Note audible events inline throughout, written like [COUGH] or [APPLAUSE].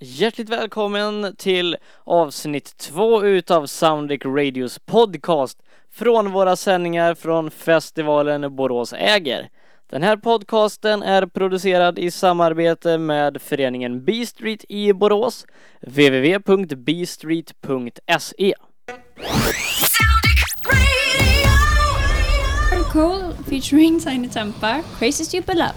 Hjärtligt välkommen till avsnitt två utav Soundic Radios podcast från våra sändningar från festivalen Borås äger. Den här podcasten är producerad i samarbete med föreningen B-Street i Borås, www.bstreet.se. Cole featuring Tiny Tempa, Crazy Stupid Love.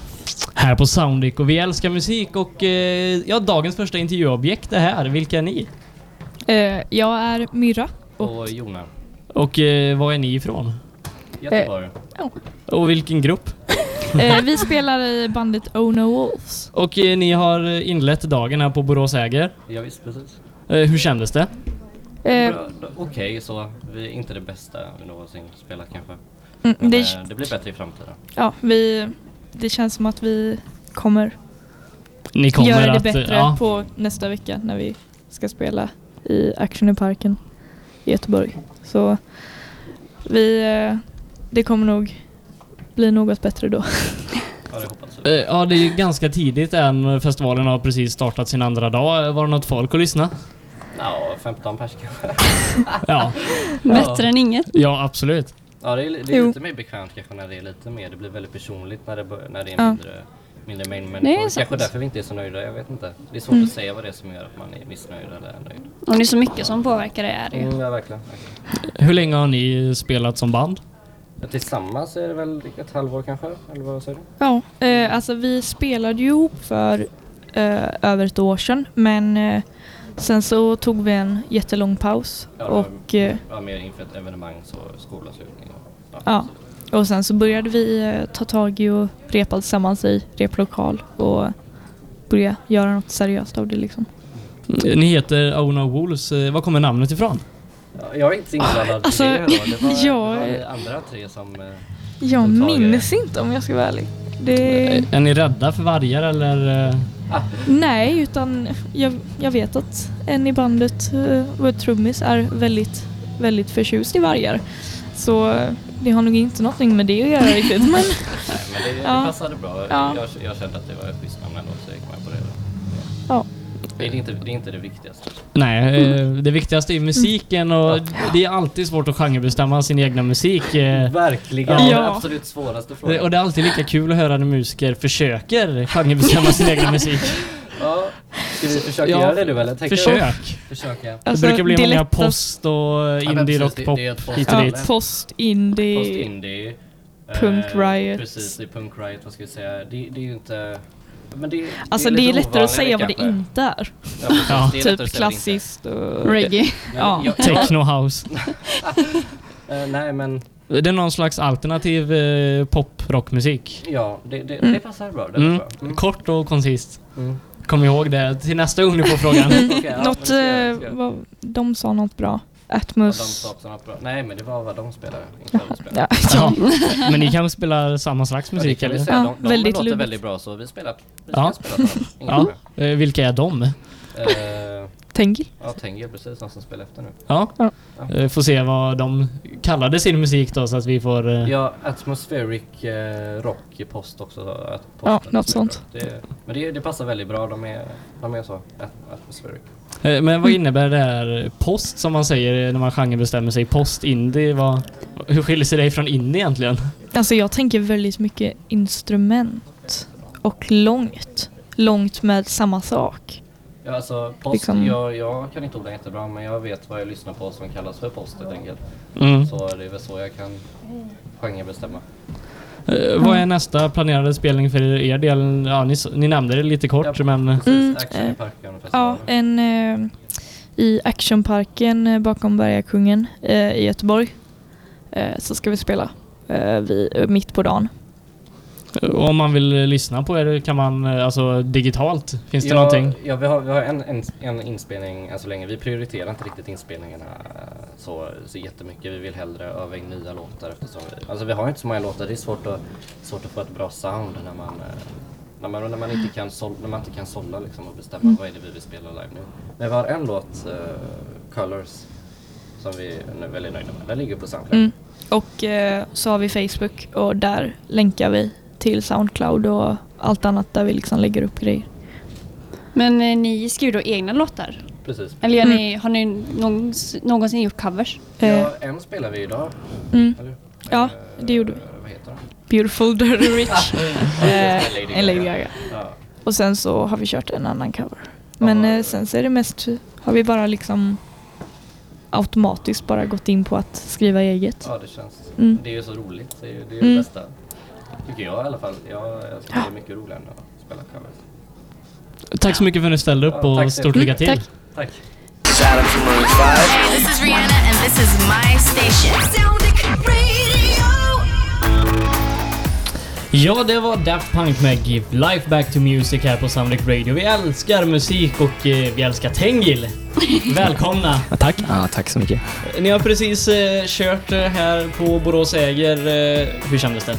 Här på Soundic och vi älskar musik och eh, ja, dagens första intervjuobjekt är här. Vilka är ni? Eh, jag är Myra. Och Jona. Och eh, var är ni ifrån? Göteborg. Och vilken grupp? Eh, vi spelar i bandet Oh No Wolves. [LAUGHS] Och eh, ni har inlett dagen här på Borås Äger. Ja visst, precis. Eh, hur kändes det? Eh, Bra, då- Okej, så. Vi är inte det bästa vi någonsin spelat kanske. Men mm, det, det, eh, det blir bättre i framtiden. ja, vi, det känns som att vi kommer, Ni kommer göra det att... bättre ja, på nästa vecka när vi ska spela i Action i Parken i Göteborg. Så vi, eh, det kommer nog bli något bättre då. [LAUGHS] Ja, det hoppas eh, vi. ja, det är ju ganska tidigt än. Festivalen har precis startat sin andra dag. Var det något folk att lyssna? Ja, 15 pers kanske. [LAUGHS] Ja, Bättre än inget. ja absolut. Ja, det är, li- det är Jo. lite mer bekvämt kanske när det är lite mer. Det blir väldigt personligt när det, bör- när det är Ja. mindre, mindre mängd Nej, det människor. är kanske sant. därför vi inte är så nöjda, jag vet inte. Det är svårt att säga vad det är som gör att man är missnöjd eller nöjd. Och det är så mycket som påverkar det är det ju. Mm, ja, verkligen. verkligen. Hur länge har ni spelat som band? Ja, tillsammans är det väl ett halvår kanske? Eller vad säger du? Ja, eh, alltså vi spelade ju ihop för eh, över ett år sedan men eh, sen så tog vi en jättelång paus Ja, och, eh, Ja, mer inför ett evenemang så skolavslutning. och- ja, och sen så började vi eh, ta tag i och repa tillsammans i replokal och börja göra något seriöst av det liksom. Eh, Ni heter Ona Wolves. Eh, Var kommer namnet ifrån? Ja, Jag är inte så inblandad Alltså, i det. Då. Det var, jag- det var de andra tre som... eh, Jag Som tagare. minns inte om jag ska vara ärlig. Det, Eh, Är ni rädda för vargar eller? eh? nej, utan jag, jag vet att en i bandet, eh, vår trummis, är väldigt, väldigt förtjust i vargar. Så eh, det har nog inte någonting med det att göra riktigt. Men [LAUGHS] Nej, men det, Ja. det passade bra. Ja. Jag, jag kände att det var ett schysst namn ändå, så jag gick med på det. Då. Ja. Det, är inte, det är inte det viktigaste. Nej, eh, Mm. det viktigaste är musiken och det är alltid svårt att genrebestämma sin egna musik. eh. Verkligen! Ja. Den absolut svåraste Det- Och frågan. det är alltid lika kul att höra när musiker försöker genrebestämma sin egen musik. [LAUGHS] Ja. Ska vi försöka Ja. göra det nu eller? Tänker du? Försök! Försöka. det brukar bli Alltså, det många lättaste- post och men indie precis, rock det- pop det är ett post- hit och Ja. dit. Eller? Post indie. Post indie. eh, Punk riot. Precis, det är punk riot. Vad ska vi säga? Det, det är ju inte... Men det, Alltså det är, lite lättare att säga ovanligare vad det kanske. inte är. Ja, precis, Ja. det är lättare att säga vad det inte är. Typ klassiskt och... [LAUGHS] Reggae. Men Ja. jag- Techno house. [LAUGHS] eh, Nej men Det är någon slags alternativ eh, pop rockmusik. ja, det, det, det passar bra. Det Mm. passar bra. Mm. Kort och koncist. Mm. Kom ihåg det till nästa gång ni får frågan. Okej, ja, men Något, ska jag- eh, ska jag- vad, de sa något bra. Vad de Atmos. sa på något bra. Nej men det var vad de spelade. Inte vad vi spelade. Ja, Ja. [LAUGHS] Men ni kanske spelar samma slags Ja, det musik kan vi eller? säga. Ja, de de väldigt låter luddigt. väldigt bra så vi spelar. Vi Ja. ska spela på dem. Inga Ja. problem. Eh, Vilka är de? Eh, Tengil. Ja, Tengil precis, han som spelar efter nu. Ja. Ja. Eh, Får se vad de kallade sin musik då så att vi får... eh, Ja, atmospheric eh, rock i post också. Att posten Ja, något spelar. sånt. Det, men det, det passar väldigt bra, de är, de är så. At, atmospheric. Eh, Men vad innebär det här post som man säger när man genrebestämmer sig? Post, indie, vad, hur skiljer sig det från indie egentligen? Alltså jag tänker väldigt mycket instrument och långt. Långt med samma sak. Ja, alltså post, Liksom- jag, jag kan inte orden jättebra men jag vet vad jag lyssnar på som kallas för post helt enkelt. Mm. Så det är väl så jag kan genrebestämma. Eh, Vad är nästa planerade spelning för er del? Ja, ni, s- ni nämnde det lite kort Ja. men... Mm, Precis, Action eh, i parken och Ja, festivalen. en eh, i actionparken eh, bakom Bergakungen eh, i Göteborg. Eh, så ska vi spela eh, vi, eh, mitt på dagen. eh, Om man vill eh, lyssna på er kan man, eh, alltså digitalt, finns det ja, någonting? Ja, vi har, vi har en, en, en inspelning än så länge. Vi prioriterar inte riktigt inspelningarna eh, så, så jättemycket. Vi vill hellre öva in nya låtar eftersom vi... Alltså vi har inte så många låtar. Det är svårt att, svårt att få ett bra sound när man, eh, när man, när man inte kan, sol, när man inte kan sålla liksom och bestämma vad är det vi vill spela live nu. Men vi har en låt, eh, Colors, som vi är väldigt nöjda med. Den ligger på Soundcloud. Mm. Och eh, så har vi Facebook och där länkar vi till Soundcloud och allt annat där vi liksom lägger upp grejer. Men eh, ni skriver då egna låtar? Precis. Eller gör ni, har ni någons, någonsin gjort covers? Mm. Eh, Ja, en spelar vi idag, mm. eller Ja, Eh, det gjorde vi. Vad heter han? Beautiful [LAUGHS] Dirty Rich. precis, med eh, Lady en Lady Gaga. Gaga. Ja. Och sen så har vi kört en annan cover. Men Ja. eh, sen så är det mest, har vi bara liksom automatiskt bara gått in på att skriva eget. ja, det känns. Mm. Det är ju så roligt. Det är ju det, är ju Mm. det bästa. Tycker jag i alla fall. Jag, jag tycker det är mycket roligare än att spela covers. Tack så mycket för att ni ställde upp Ja, tack och så stort mycket. lycka till. tack. Tack. Hey, this is Rihanna, and this is my station. Soundic Radio. Ja, det var Daft Punk med Give Life Back to Music här på Soundic Radio. Vi älskar musik och eh, vi älskar [LAUGHS] Tengil. Välkomna! Tack. Ja, tack så mycket. Ni har precis eh, kört eh, här på Borås Äger. Eh, hur kändes det?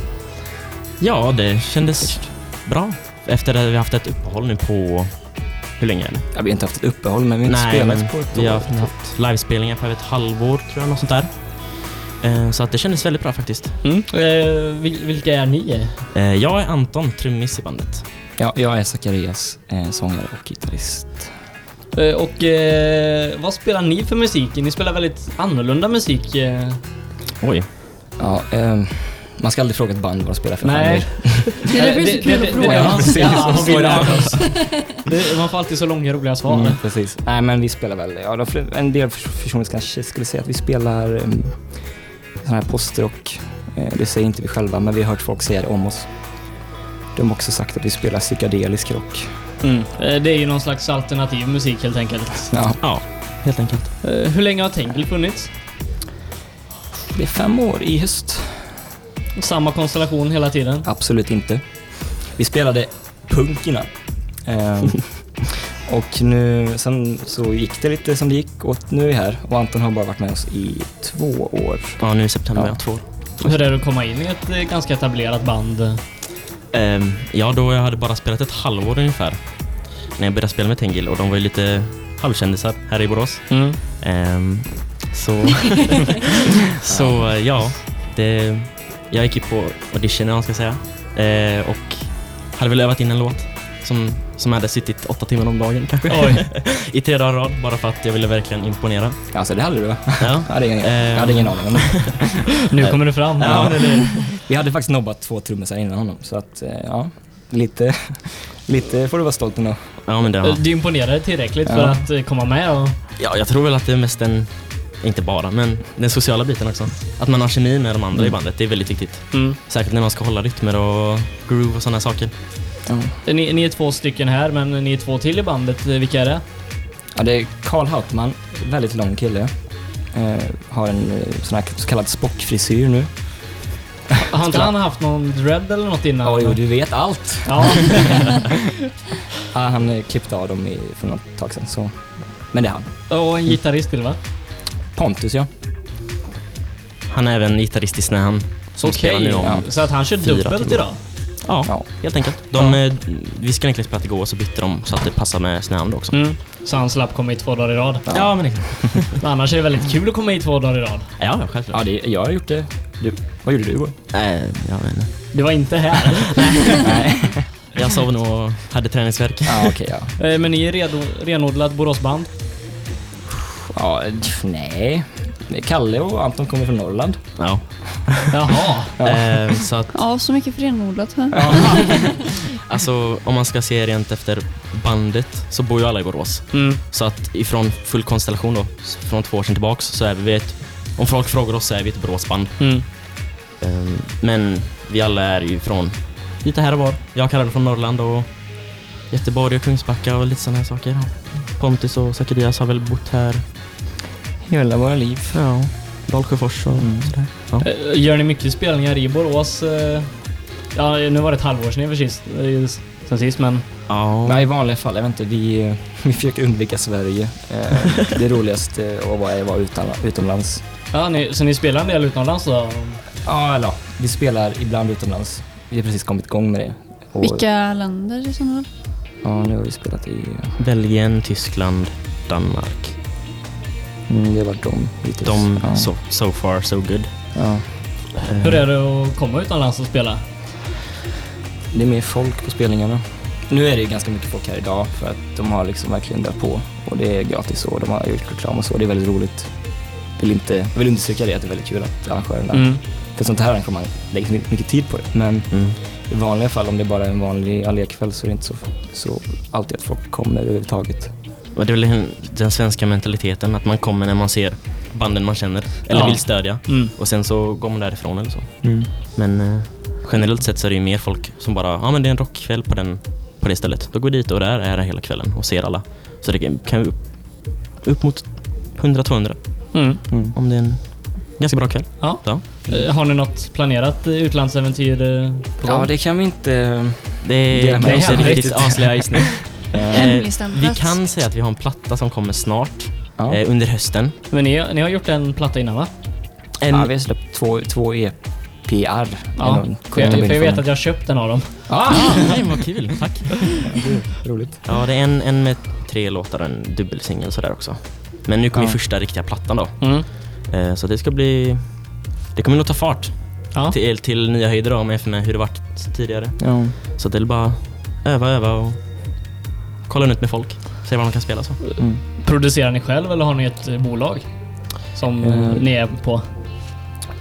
Ja, det kändes bra. Efter att vi haft ett uppehåll nu på... Hur länge? Eller? Ja, vi har inte haft ett uppehåll, men vi har inte men spelat på ett vi har år. haft livespelningar på ett halvår, tror jag, något sånt där. Eh, Så att det kändes väldigt bra faktiskt. Mm. Eh, vil- vilka är ni? Eh, Jag är Anton, trummis i bandet. Ja, jag är Zacharias, eh, sångare och gitarrist. Eh, och eh, vad spelar ni för musik? Ni spelar väldigt annorlunda musik. Eh, Oj. Ja, ehm, man ska aldrig fråga ett band vad de spelar för Nej. genre. [LAUGHS] Det är därför det är så kul att fråga. Ja, precis. ja, Så är det. [LAUGHS] det- Man får alltid så långa roliga svar. Mm, precis. Nej, men vi spelar väl, ja, de, fl- en del pers- personer kanske skulle säga att vi spelar um, sån här postrock. Eh, det säger inte vi själva, men vi har hört folk säga det om oss. De har också sagt att vi spelar psykedelisk rock. Mm. Eh, Det är ju någon slags alternativ musik helt enkelt. Ja, Ja, helt enkelt. Eh, Hur länge har Tengil funnits? det är fem år i höst. Samma konstellation hela tiden? Absolut inte. Vi spelade punk innan. [LAUGHS] Ehm, och nu, sen så gick det lite som det gick och nu är vi här. Och Anton har bara varit med oss i två år. Ja, nu i september, Ja. ja. två år. Hur är det att komma in i ett eh, ganska etablerat band? Ehm, ja, då jag hade bara spelat ett halvår ungefär. När jag började spela med Tengil och de var ju lite halvkändisar här i Borås. Ehm, så... så eh, ja, det, jag gick ju på audition eller vad man ska säga. Eh, och hade väl övat in en låt som, som hade suttit åtta timmar om dagen kanske. Oj. [LAUGHS] I tre dagar i rad, bara för att jag ville verkligen imponera. Alltså det hade du va? [LAUGHS] Ja. Jag hade ingen, jag hade Ehm. ingen aning om det. [LAUGHS] Nu kommer det fram. Ja, det, det. Vi hade faktiskt nobbat två trummisar innan honom så att eh, ja, lite, lite får du vara stolt ändå. ja men det Eh, var... Du imponerade tillräckligt för Ja. att eh, komma med och... Ja, jag tror väl att det är mest den, inte bara, men den sociala biten också. Att man har kemi med de andra Mm. i bandet, det är väldigt viktigt. Särskilt när man ska hålla rytmer och groove och sådana saker. Eh, Ni, ni är två stycken här, men ni är två till i bandet. Eh, Vilka är det? Ja, det är Karl Hartman, väldigt lång kille. Eh, har en eh, sån här så kallad spockfrisyr nu. Har inte han haft någon dread eller något innan? Ja, jo, du vet allt. Ja. [LAUGHS] [LAUGHS] Ja, han eh, klippte av dem i, för något tag sedan så. Men det är han. Och en gitarrist till va? Pontus ja. Han är även gitarrist i Snähan. Som spelar nu om ja. Så att han kör Fyra dubbelt timmar. idag? Ja, Ja. helt enkelt. De, eh, Vi skulle egentligen spela igår och så bytte de så att det passar med Snähan då också. Mm. Så han slapp komma hit två dagar i rad. Ja, men exakt. Men [LAUGHS] annars är det väldigt kul att komma hit två dagar i rad. Ja, ja, självklart. ja det, jag har gjort det. Du, vad gjorde du igår? Nej, jag vet [LAUGHS] inte. Du var [LAUGHS] inte här. Jag sov nog och hade träningsvärk. Ja okej ja. Eh, Men ni är redo, renodlat Boråsband. ja. pff, Nej. Kalle och Anton kommer från Norrland. Ja. Jaha. Eh, så att, Ja, så mycket för renodlat. va? [LAUGHS] alltså, om man ska se rent efter bandet så bor ju alla i Borås. Så att ifrån full konstellation då, s- från två år sedan tillbaks, så är vi ett... Om folk frågar oss så är vi ett Boråsband. Mm. Ehm, men vi alla är ju från lite här och var. Jag kallar det från Norrland och Göteborg och Kungsbacka och lite sådana här saker. Pontus och Zacharias har väl bott här. Hela våra liv. Mm. Ja, Dalsjöfors och sådär. Ja. Eh, Gör ni mycket spelningar i Borås? eh? Ja, nu var det ett halvår sedan ni var sist, eh, sen sist, men... ja. Nej i vanliga fall, jag vet inte. Vi, eh, [LAUGHS] vi försöker undvika Sverige. Eh, Det roligaste att vara är att vara utan, utomlands. Ja, ni, så ni spelar en del utomlands då? Ja eller ja. Vi spelar ibland utomlands. Vi har precis kommit igång med det. [LAUGHS] Och, Vilka länder i sådana fall? Ja nu har vi spelat i, eh, Belgien, Tyskland, Danmark. mm, det har varit de hittills. De, ja. so, so far so good. Ja. Hur är det att komma utomlands och spela? Det är mer folk på spelningarna. Nu är det ju ganska mycket folk här idag för att de har liksom verkligen dragit på och det är gratis och de har gjort reklam och så. Det är väldigt roligt. Vill inte, jag vill understryka det att det är väldigt kul att arrangörerna, Mm. för sånt här arrangemang lägger så mycket tid på det. Men Mm. i vanliga fall om det är bara är en vanlig allékväll så är det inte så, så alltid att folk kommer överhuvudtaget. Och det är väl den- den svenska mentaliteten, att man kommer när man ser banden man känner eller Ja. vill stödja. Mm. Och sen så går man därifrån eller så. Mm. Men eh, generellt sett så är det ju mer folk som bara, ja men det är en rockkväll på, den, på det stället. Då går vi dit och där är det hela kvällen och ser alla. Så det kan kan ju upp, upp mot 100-200 Mm. om det är en ganska bra kväll. Ja. Ja. Eh, Har ni något planerat eh, utlandsäventyr eh, på gång? Ja, det kan vi Eh, inte... Det Det kan kan jag inte hända riktigt riktigt. avslöja [LAUGHS] just nu. Eh, vi Hemligstämplat. kan säga att vi har en platta som kommer snart Ja. eh, under hösten. Men ni, ni har gjort en platta innan va? En, Ja, vi har släppt två, två E EPR. Ja. För jag, för jag vet att jag har köpt en av dem. ah, nej, vad kul, tack. Roligt. Ja, det är en, en med tre låtar och en dubbelsingel sådär också. Men nu kommer ju första riktiga plattan då. Mm. Eh, så det ska bli... Det kommer nog ta fart. Ja. Till, till nya höjder då, med, med hur det varit tidigare. Ja. Så det är bara öva, öva och kolla ut med folk. Se vad de kan spela så. Mm. Mm. Producerar ni själv eller har ni ett eh, bolag? Som eh, Eh. ni är på?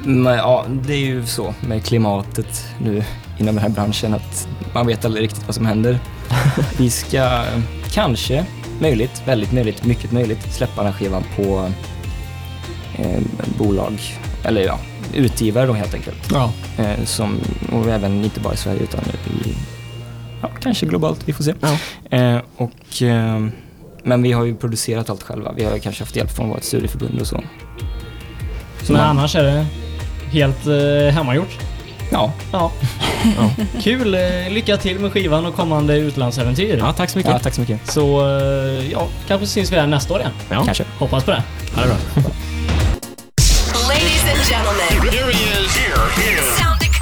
Men, ja, det är ju så med klimatet nu inom den här branschen att man vet aldrig riktigt vad som [LAUGHS] händer. vi ska eh, kanske, möjligt, väldigt möjligt, mycket möjligt släppa den här skivan på eh, bolag, eller ja, utgivare då helt enkelt. Ja. Eh, som, och även inte bara i Sverige utan i, ja, kanske globalt, vi får se. Eh, och, eh, men vi har ju producerat allt själva. Vi har ju kanske haft hjälp från vårt studieförbund och så. Men man- annars är det helt eh, hemmagjort. Ja, Ja. [LAUGHS] Kul! eh, Lycka till med skivan och kommande utlandsäventyr. Ja, tack så mycket. ja, tack så mycket. Så eh, ja, kanske syns vi här nästa år igen. Ja. Kanske. Hoppas på det. Ladies and gentlemen, here he is. Here he is. Soundic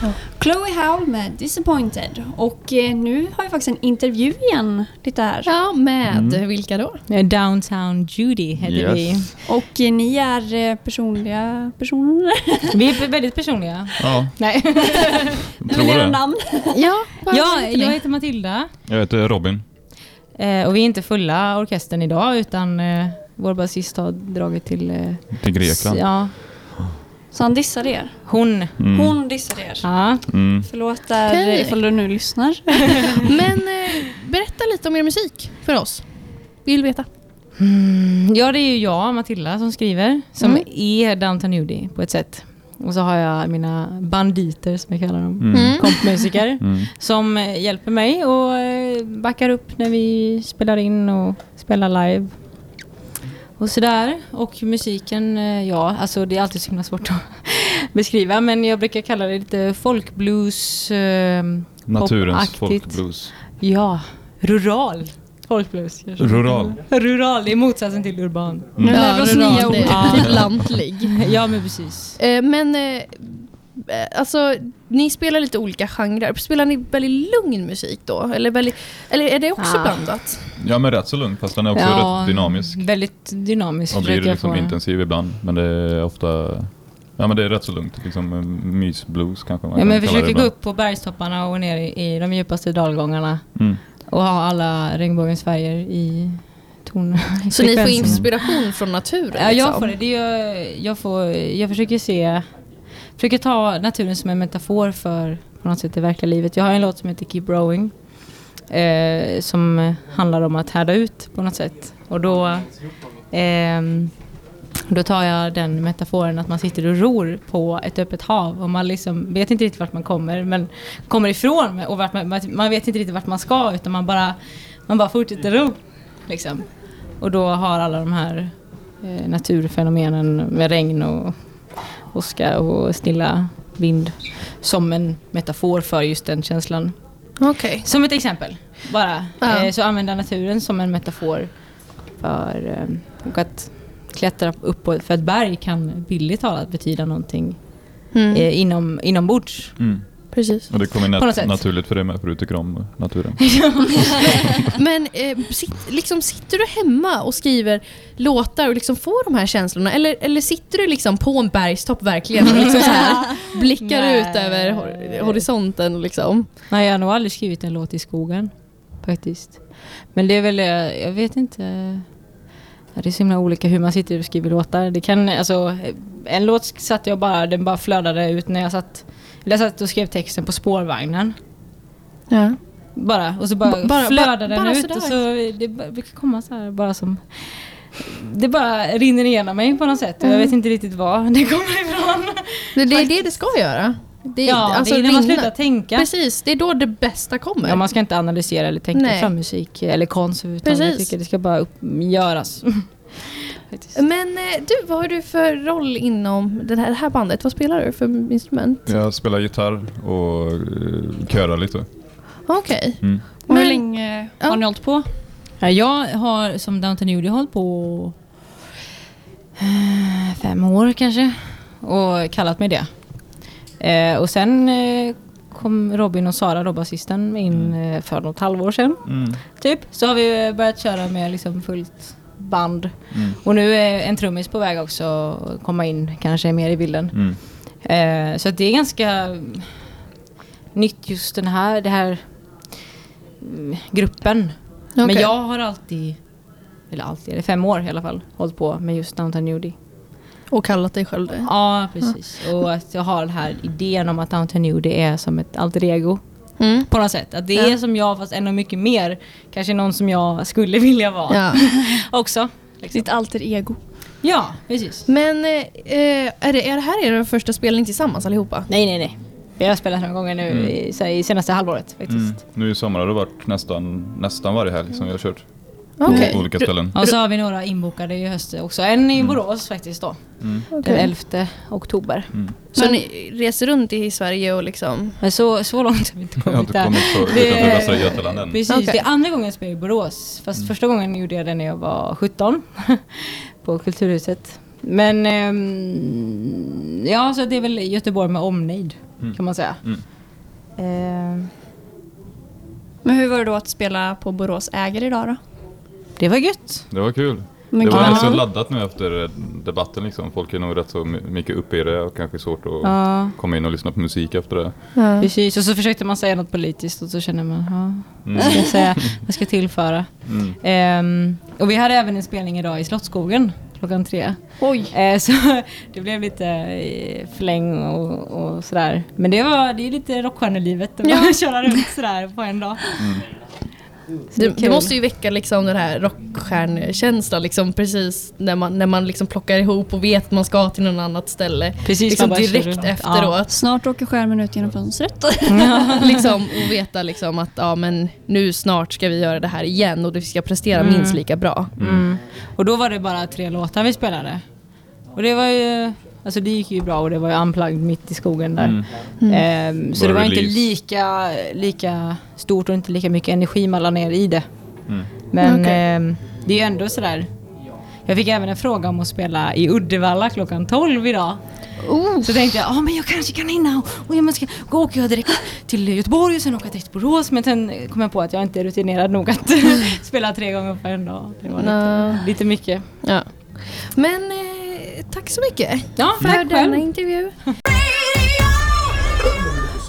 Radio. Chloe Howell med Disappointed. Och eh, nu har vi faktiskt en intervju igen lite här. Ja, med vilka då? Mm. Eh, Downtown Judy heter Yes. Och eh, ni är eh, personliga [LAUGHS] personer. vi. Vi är väldigt personliga. Ja, [LAUGHS] Nej. tror Era det. namn. ja, ja, jag heter Matilda. Jag heter Robin. Eh, och vi är inte fulla orkestern idag utan eh, vår basist har dragit till... Eh, Till s- Grekland. Ja, Så han dissar er. hon. Mm. Hon dissar er. Ja. Mm. Förlåt där Okej. ifall du nu lyssnar. [LAUGHS] Men eh, berätta lite om er musik för oss. Vill veta. Mm, ja, det är ju jag, Matilda, som skriver. Som Mm. är Downtown Judy på ett sätt. Och så har jag mina banditer som jag kallar dem. Mm. Kompmusiker. [LAUGHS] Mm. som eh, hjälper mig och eh, backar upp när vi spelar in och spelar live. Och sådär. Och musiken, eh, ja, alltså det är alltid så himla svårt att [LAUGHS] beskriva men jag brukar kalla det lite folkblues. Eh, Naturens popaktigt. folkblues. Ja, rural folkblues. kanske. Rural. Rural, det är motsatsen till urban. Nu lär vi oss nya ord. Ja. Typ lantlig. Ja men precis. Eh, Men eh, eh, alltså, ni spelar lite olika genrer. Spelar ni väldigt lugn musik då? Eller, väldigt, eller är det också Ah. [LAUGHS] blandat? Ja, men rätt så lugn fast den är också Ja, rätt dynamisk. Väldigt dynamisk. Och blir försöker jag liksom få. intensiv ibland. Men det är ofta... Ja men det är rätt så lugnt. Liksom eh, mysblues kanske man Ja, kan men vi kalla det försöker gå ibland. upp på bergstopparna och ner i, i de djupaste dalgångarna Mm. och ha alla regnbågens färger i [LAUGHS] ton. Så ni får frekvensen. inspiration från naturen? Ja, jag liksom. får det. det är, ju- jag, får, jag försöker se, försöker ta naturen som en metafor för på något sätt det verkliga livet. Jag har en låt som heter Keep Rowing eh, som eh, handlar om att härda ut på något sätt. Och då, ehm, då tar jag den metaforen att man sitter och ror på ett öppet hav och man liksom vet inte riktigt vart man kommer, men kommer ifrån och vart man, man vet inte riktigt vart man ska utan man bara, man bara fortsätter ro. Liksom. Och då har alla de här eh, naturfenomenen med regn och åska och stilla vind som en metafor för just den känslan. Okej. Som ett exempel bara. Ja. Eh, Så använda naturen som en metafor för eh, och att klättra upp på, för ett berg kan bildligt talat betyda någonting Mm. eh, inom, inombords. Mm. precis. Och det kommer På något nat- sätt. naturligt för dig med för du tycker om [LAUGHS] naturen. Men eh, sit, liksom, sitter du hemma och skriver låtar och liksom får de här känslorna? Eller, eller sitter du liksom på en bergstopp verkligen och liksom så [LAUGHS] här, blickar Nej. ut över hor- Eh, horisonten? Liksom? Nej, jag har nog aldrig skrivit en låt i skogen faktiskt. Men det är väl, eh, jag vet inte. Ja, Det är så himla olika hur man sitter och skriver låtar. Det kan, alltså, eh, en låt satt jag bara, den bara flödade ut när jag satt, eller jag satt och skrev texten på spårvagnen. Ja. Bara, och så bara, Ba- bara- flödade ba- den bara ut. sådär. Och så, det bara- brukar komma så här bara som... Det bara rinner igenom mig på något sätt. och Jag Mm. vet inte riktigt vad det kommer ifrån. Det, det är det det ska göra. Det, alltså, Ja, det är när man slutar tänka. Precis, det är då det bästa kommer. Ja, man ska inte analysera eller tänka Nej. fram musik eller konst överhuvudtaget. Jag Precis. tycker det ska bara upp, [LAUGHS] göras. Men eh, du, vad har du för roll inom det här, det här bandet? Vad spelar du för instrument? Jag spelar gitarr och eh, körar lite. Okej. Mm. Och hur länge har ni hållit på? Ja, jag har som Downton Judy hållit på [SIGHS] eh, fem år kanske och kallat mig det. Eh, och sen eh, kom Robin och Sara, då basisten, in eh, för något halvår sedan. Mm. Typ. Så har vi eh, börjat köra med liksom fullt band. Mm. Och nu är en trummis på väg också att komma in kanske mer i bilden. Mm. Eh, så att det är ganska nytt just den här, det här mm, gruppen. Men Okej. jag har alltid, eller alltid, eller fem år i alla fall, hållit på med just Downton Nudie. Och kallat dig själv det? Ja, precis. Och att jag har den här idén om att Downton Nudie är som ett alter ego. Mm. På något sätt. Att det Ja. är som jag fast ännu mycket mer. Kanske någon som jag skulle vilja vara Ja. [LAUGHS] också. liksom. Ditt alter ego. Ja, precis. Men eh, eh, är, det, är det här er första spelning tillsammans allihopa? Nej, nej, nej. Vi har spelat några gånger nu Mm. i, så här, i senaste halvåret faktiskt. Mm. Nu i sommar har det varit nästan, nästan varje helg som vi har kört. Okej. På olika ställen. Och så har vi några inbokade i höst också. En i Borås faktiskt då. Mm. Den 11 oktober. Så ni reser runt i Sverige och liksom... Men så, så långt har vi inte Jag har kommit inte kommit så utanför Västra Götaland än. Mm. Precis, Okej. det är andra gången jag spelar i Borås. Fast första gången gjorde jag det när jag var 17. [LAUGHS] på Kulturhuset. Men ehm, ja, så det är väl Göteborg med omnejd Mm. kan man säga. Mm. Ehm, Eh. Men hur var det då att spela på Borås äger idag då? det var gött. Det var kul. Men det var kul. rätt så laddat nu efter eh, debatten liksom. Folk är nog rätt så my- mycket uppe i det och kanske svårt att Ja. komma in och lyssna på musik efter det. Precis, och så försökte man säga något politiskt och så känner man, ja, vad ska jag Mm. säga, vad ska jag tillföra? Mm. Ehm, och vi hade även en spelning idag i Slottsskogen klockan tre. Eh, Oj. så [LAUGHS] det blev lite eh, fläng och, och sådär. Men det, var, det är lite rockstjärnelivet att bara [LAUGHS] köra runt [LAUGHS] sådär på en dag. Det, Kul. det måste ju väcka liksom den här rockstjärnkänslan liksom precis när man, när man liksom plockar ihop och vet att man ska till något annat ställe. Precis, liksom man bara kör direkt runt. efteråt. Snart åker skärmen ut [LAUGHS] genom fönstret. [LAUGHS] liksom, och veta liksom att ja, men nu snart ska vi göra det här igen och vi ska prestera Mm. minst lika bra. Mm. Och då var det bara tre låtar vi spelade. Och det var ju, alltså det gick ju bra och det var ju unplugged mitt i skogen där. Mm. Ehm, så Bara det var inte release. lika, lika stort och inte lika mycket energi man la ner i det. Men ehm, det är ju ändå sådär. Jag fick även en fråga om att spela i Uddevalla klockan 12 idag. Oh. Så tänkte jag, ja men jag kanske kan hinna och- och jag måste, och åker jag direkt till Göteborg och sen åker jag direkt till Borås. Men sen kom jag på att jag inte är rutinerad nog [LAUGHS] att [LAUGHS] spela tre gånger på en dag. Det var lite, Nå. lite mycket. Ja. Men eh, tack så mycket Ja, för tack denna själv. intervju.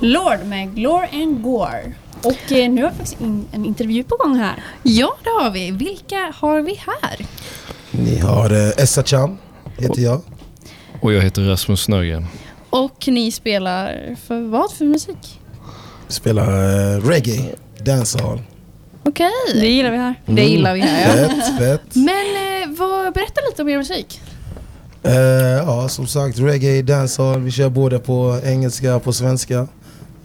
Lord med Glor and Gore. Och eh, nu har vi faktiskt in, en intervju på gång här. Ja, det har vi. Vilka har vi här? Vi har eh, Essa Cham, heter jag. Och jag heter Rasmus Nögen. Och ni spelar för vad för musik? Spelar eh, reggae, dancehall. Okej. Det gillar vi här. Det gillar vi här, ja. Mm. Fett, fett. Men eh, vad, berätta lite om er musik. Eh, ja, som sagt, reggae, dancehall. Vi kör både på engelska och på svenska.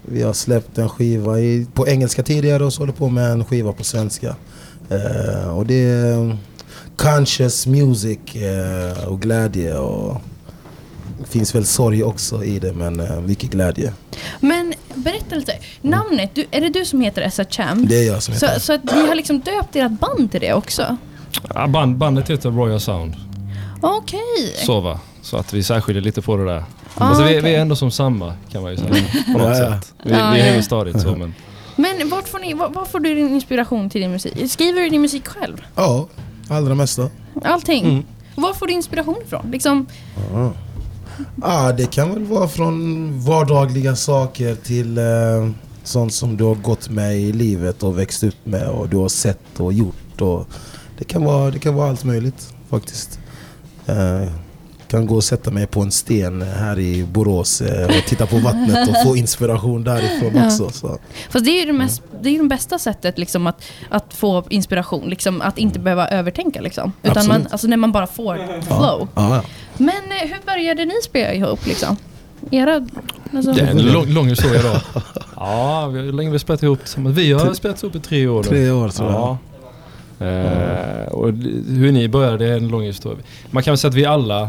Vi har släppt en skiva i, på engelska tidigare och så håller på med en skiva på svenska. Eh, och det är conscious music eh, och glädje. Och, det finns väl sorg också i det, men eh, mycket glädje. Men berätta lite. Namnet, du, är det du som heter Essa Cham? Det är jag som heter Så, så att ni har liksom döpt ert band till det också? Ja, band, bandet heter Royal Sound. Okej. Så va? Så att vi särskiljer lite på det där. Ah, alltså, vi, vi okej. är ändå som samma kan man ju säga. På Ja, något ja. sätt. Vi, Ja, vi ja. hänger stadigt så men. Men vart får, ni, var, var får du din inspiration till din musik? Skriver du din musik själv? Ja, allra mesta. Allting? Mm. Var får du inspiration ifrån? Liksom, Ja, ah, det kan väl vara från vardagliga saker till eh, sånt som du har gått med i livet och växt upp med och du har sett och gjort. Och det, kan vara, det kan vara allt möjligt faktiskt. Eh, kan gå och sätta mig på en sten här i Borås eh, och titta på vattnet och få inspiration därifrån Ja. också. Så. fast det är ju det, mest, det, är ju det bästa sättet liksom, att, att få inspiration. Liksom, att inte behöva övertänka. Liksom, utan man, Absolut. alltså, när man bara får flow. Ja, ja. Men eh, hur började ni spela ihop? Liksom? Era, alltså, Det är en lång, lång historia då. Ja, vi- hur länge har vi spelat ihop tillsammans? Vi har Tre- spelat ihop i tre år. då. tre år, tror jag. Ja. Eh, och d- hur ni började det är en lång historia. Man kan väl säga att vi alla,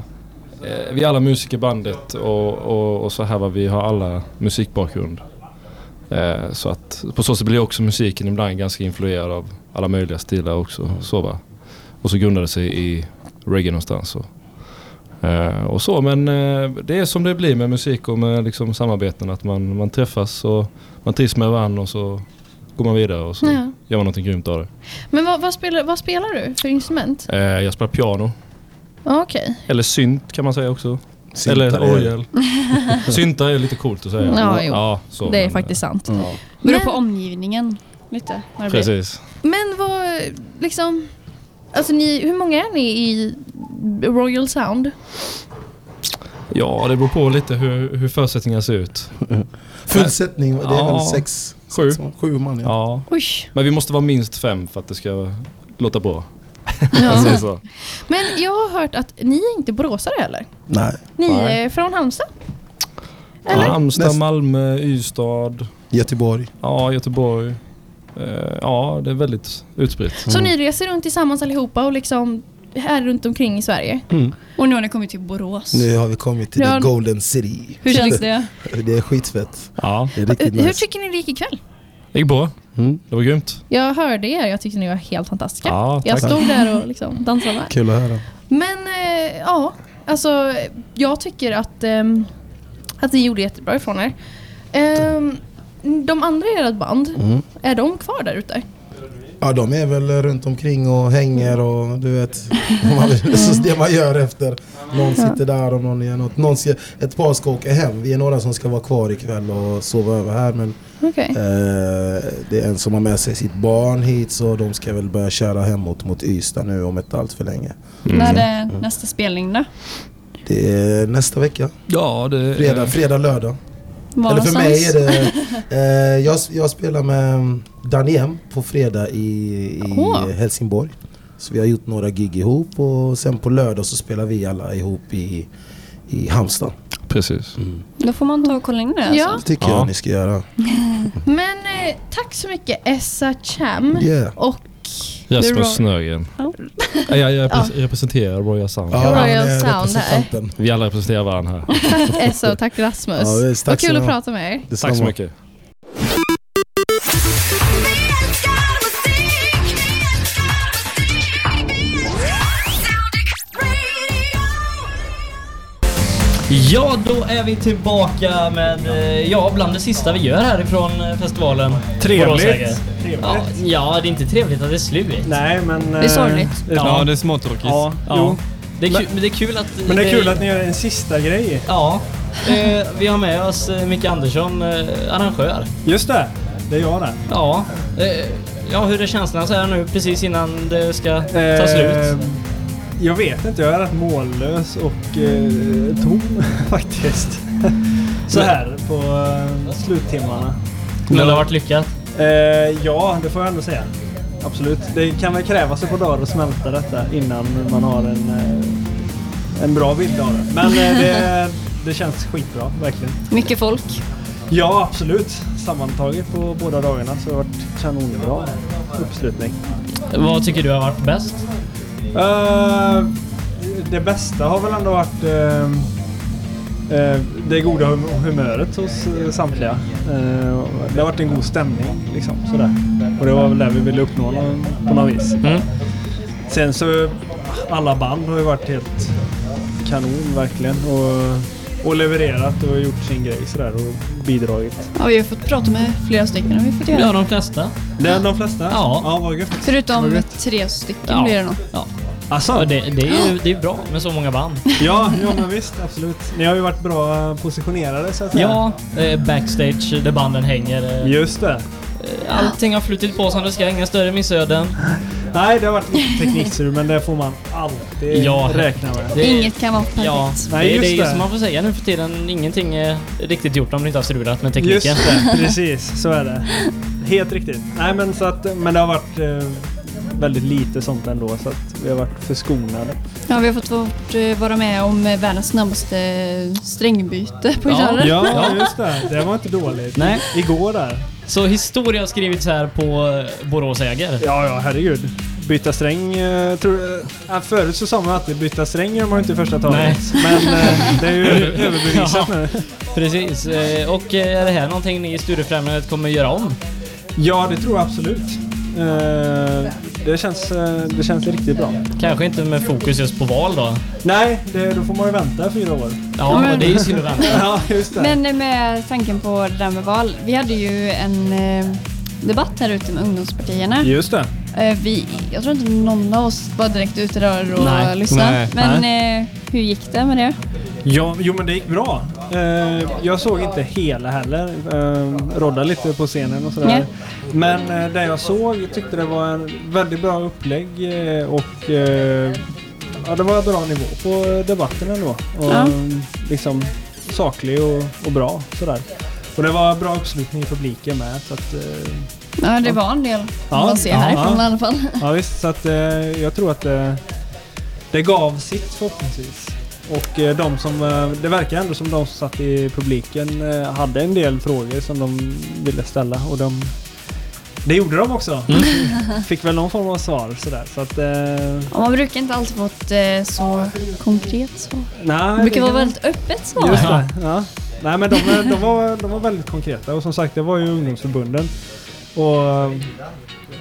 eh, vi alla musiker i bandet och, och, och så här vad vi har alla musikbakgrund. Eh, så att på så sätt blir också musiken ibland ganska influerad av alla möjliga stilar också. Så va? Och så grundade det sig i reggae någonstans. Och, Eh, och så, men eh, det är som det blir med musik och med liksom samarbeten. Att man, man träffas och man trivs med varandra och så går man vidare och så Ja. gör man någonting grymt av det. men vad, vad, spelar, vad spelar du för instrument? Eh, jag spelar piano, Ja, Okej. eller synt kan man säga också. Syntar eller är- orgel. [LAUGHS] Syntar är lite coolt att säga. Ja, jo. så, Det är men, faktiskt eh, sant. ja. Beror på omgivningen lite. vad det blir. Precis. Men vad, liksom... Alltså ni, hur många är ni i Royal Sound? Ja, det beror på lite hur, hur förutsättningarna ser ut. [LAUGHS] Fullsättning, det är väl sex- Sju. sex man- sju man, ja. Oj. Men vi måste vara minst fem för att det ska låta bra. [LAUGHS] Ja. Jag säger så. Men jag har hört att ni är inte boråsare heller? Nej. Ni Nej. är från Halmstad? Ja, Halmstad, Malmö, Ystad. Göteborg. Ja, Göteborg. Eh, Ja, det är väldigt utspritt. Mm. Så ni reser runt tillsammans allihopa och liksom här runt omkring i Sverige? Mm. Och nu har ni kommit till Borås. Nu har vi kommit till Ja. the Golden City. Hur känns det? [LAUGHS] Det är skitfett. Ja. Det är riktigt Eh, Hur nice. Mm. tycker ni det gick ikväll? Det gick bra. Det var grymt. Jag hörde er, jag tyckte ni var helt fantastiska. Ja, jag tack. stod där och liksom dansade. Kul att höra. Men eh, ja, alltså jag tycker att, ehm, att ni gjorde jättebra ifrån er. Ehm, de andra i ert band, Mm. är de kvar där ute? Ja, de är väl runt omkring och hänger och du vet. Man vill, så det man gör efter. Någon sitter där och någon gör något. Någon ska, ett par ska åka hem. Vi är några som ska vara kvar ikväll och sova över här. Men Okej. eh, det är en som har med sig sitt barn hit så de ska väl börja köra hemåt mot Ystad nu om inte allt för länge. När Mm. är det nästa spelning då? Det är nästa vecka. Ja, det är- fredag, fredag, lördag. Var Eller för mig är någonstans? det... Eh, jag, jag spelar med Daniem på fredag i, i Åh. Helsingborg. Så vi har gjort några gig ihop och sen på lördag så spelar vi alla ihop i, i Halmstad. Mm. Precis. Då får man ta och kolla in det alltså. Ja. Det tycker Ja. jag ni ska göra. Men eh, tack så mycket Essa Cham Yeah. och The Ro- Rasmus Snögren. Ja. Ja, jag repre- representerar Royal Sound. Ja, Royal han är Sound här. representanten. Vi alla representerar varandra här. [LAUGHS] Tack Essa och tack Rasmus. Ja, visst, tack Vad kul så att mycket. prata med er. Tack så mycket. Ja, då är vi tillbaka med, eh, ja, bland det sista vi gör härifrån eh, festivalen. Trevligt. Boråsäger. Trevligt. Ja, ja, det är inte trevligt att det är slut. Nej, men... Det är sorgligt. Ja, det är småtråkigt. Ja, Ja. jo. Det är, kul, men det är kul att... Men det är kul att ni gör en sista grej. Ja. Eh, vi har med oss eh, Micke Andersson, eh, arrangör. Just det, det är jag det. Ja. Eh, ja, hur är känslan så här nu precis innan det ska ta Eh, slut? Jag vet inte, jag är rätt mållös och eh, tom [LAUGHS] faktiskt. Så här på eh, sluttimmarna. Men det har varit lyckat. Eh, ja, det får jag ändå säga. Absolut. Det kan väl krävas ett par dagar att smälta detta innan man har en, eh, en bra bild av det. Men eh, [LAUGHS] det, det känns skitbra, verkligen. [LAUGHS] Mycket folk. Ja, absolut. Sammantaget på båda dagarna så har det varit kanonbra uppslutning. Vad tycker du har varit bäst? Eh, det bästa har väl ändå varit eh, eh, det goda hum- humöret hos eh, samtliga. Eh, det har varit en god stämning liksom. Sådär. Och det var väl det vi ville uppnå nå- på något vis. Mm. Sen så, alla band har ju varit helt kanon verkligen. Och, och levererat och gjort sin grej sådär och bidragit. Ja, vi har fått prata med flera stycken. Har vi fått göra. Ja, de flesta. Det de flesta? Ja. Ja, vad gött. Vad Förutom gött. tre stycken Ja. blir det nog. Ja. Asså? Det, det är ju det är ju bra med så många band. Ja, ja men visst, absolut. Ni har ju varit bra positionerade så att säga. Ja, eh, backstage där banden hänger. eh. Just det. Eh, Allting har flutit på som det ska, inga större missöden. Nej, det har varit lite tekniksur men det får man alltid Ja. räkna med. Det- Inget kan vara perfekt. Ja, Nej, det, just det är ju det. som man får säga nu för tiden. Ingenting är riktigt gjort om det inte har strulat med tekniken. Just [LAUGHS] det, precis. Så är det. Helt riktigt. Nej, men, så att, men det har varit eh, väldigt lite sånt ändå så att vi har varit förskonade. Ja, vi har fått vårt, eh, vara med om eh, världens snabbaste strängbyte på Ja. gitarren. Ja, Ja. just det. Det var inte dåligt. Nej. Igår där. Så historia har skrivits här på eh, Borås äger. Ja, ja, herregud. Byta sträng. eh, Tror, eh, förut så sa man alltid byta sträng gör man ju inte i första taget. [LAUGHS] Men eh, [LAUGHS] det är ju över- överbevisat nu. Precis. Eh, Och eh, är det här någonting ni i Studiefrämjandet kommer göra om? Ja, det tror jag absolut. Eh, det, känns, eh, det känns riktigt bra. Kanske inte med fokus just på val då? Nej, det, då får man ju vänta fyra år. Ja, men- och det är ju synd att vänta. [LAUGHS] ja, just det. Men eh, med tanken på det där med val. Vi hade ju en eh, debatt här ute med ungdomspartierna. Just det. Eh, vi, jag tror inte någon av oss var direkt ute där och Nej. lyssnade. Nej. Men eh, hur gick det med det? Ja, jo men det gick bra. Eh, jag såg inte hela heller. Eh, rodda lite på scenen och sådär. Nej. Men eh, det jag såg tyckte det var en väldigt bra upplägg eh, och eh, ja, det var en bra nivå på debatten ändå. Och, Ja. liksom saklig och, och bra sådär. Och det var bra uppslutning i publiken med. Så att, eh, Ja, det var en del Ja, man ser ja, härifrån ja. i alla fall. [LAUGHS] ja visst, så att, eh, jag tror att eh, det gav sitt förhoppningsvis. Och eh, de som, eh, det verkar ändå som de som satt i publiken eh, hade en del frågor som de ville ställa och de, det gjorde de också. Fick väl någon form av svar sådär. Så att, eh, Ja, man brukar inte alltid få ett eh, så konkret svar. nej, det brukar det- vara väldigt öppet svar. Just det. Ja. Nej, men de, de, var, de var väldigt konkreta och som sagt det var ju ungdomsförbunden.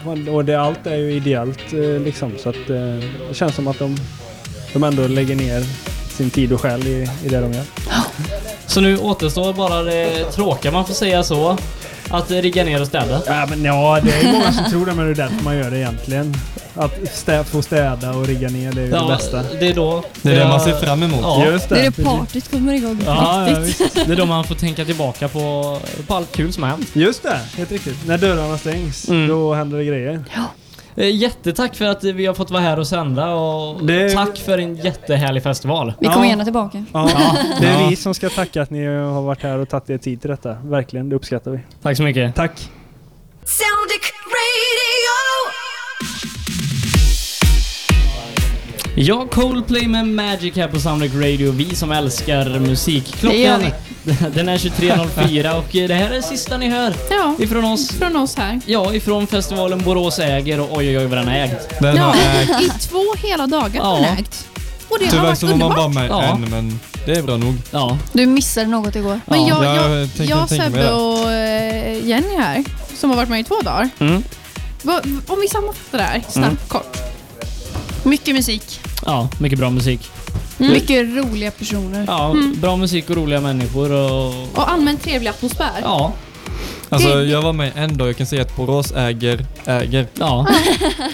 Och, och det, allt är ju ideellt eh, liksom så att eh, det känns som att de, de ändå lägger ner sin tid och själ i, i det de gör. Så nu återstår bara det tråkiga, man får säga så. Att rigga ner och städa. Ja, men ja, Det är många som tror det men det är därför man gör det egentligen. Att stä, få städa och rigga ner det är ju Ja, det bästa. det är då... Det är det man ser fram emot. Ja. Just Det är det partyt kommer igång Ja, ja, riktigt. visst. Det är då man får tänka tillbaka på, på allt kul som har hänt. Mm. Just det, helt riktigt. När dörrarna stängs, då händer det grejer. Eh, Jättetack för att vi har fått vara här och sända och tack för en jättehärlig festival. Vi kommer gärna tillbaka. Ja, det är Ja. vi som ska tacka att ni har varit här och tagit er tid till detta. Verkligen, det uppskattar vi. Tack så mycket. Tack. Soundic Radio. Ja, Coldplay med Magic här på Soundtrack Radio. Vi som älskar musik. Det gör Klockan den är 23.04 och eh, det här är sista ni hör. Ja, ifrån oss. Från oss här. Ja, ifrån festivalen Borås äger och oj oj oj vad den har ägt. Ja, i två hela dagar har Ja. den ägt. Och det har Tyvärr varit så var man underbart. bara med Ja. en, men det är bra nog. Ja. Du missade något igår. Men jag, Ja, jag, jag tänkte- jag tänkte mig Sebbe det. och eh, Jenny här, som har varit med i två dagar. Mm. Va- Om vi sammanfattar det här, snabbt, Mm. kort. Mycket musik. Ja, mycket bra musik. Mm. Mycket roliga personer. Mm. Ja, bra musik och roliga människor och... Och allmänt trevlig atmosfär. Ja. Alltså Det- jag var med en dag, jag kan säga att Borås äger, äger. Ja.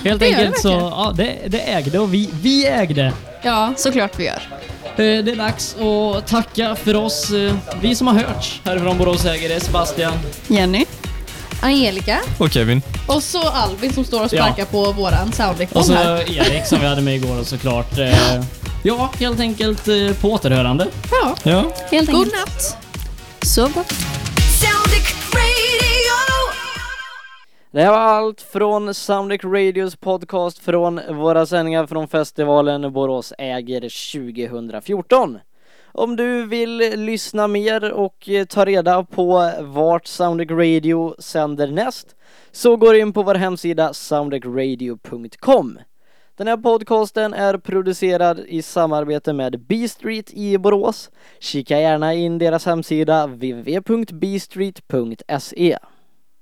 Helt Det gör enkelt det så, verkligen. ja, det, det ägde och vi, vi ägde. Ja, såklart vi gör. Eh, Det är dags att tacka för oss, eh, vi som har hörts härifrån Borås äger, det är Sebastian. Jenny. [LAUGHS] Angelica. Och Kevin. Och så Albin som står och Ja. sparkar på våran soundlick Och så här. Erik som vi hade med igår och såklart. eh, Ja, helt enkelt eh, på återhörande. Ja. Ja. Helt God natt. Sov gott. Soundic Radio. Det här var allt Från Soundec Radios podcast från våra sändningar från festivalen Borås äger 2014. Om du vill lyssna mer och eh, ta reda på vart Soundec Radio sänder näst Så går du in på vår hemsida soundecradio.com. Den här podcasten är producerad i samarbete med B-Street i Borås. E. Kika gärna in deras hemsida www.bstreet.se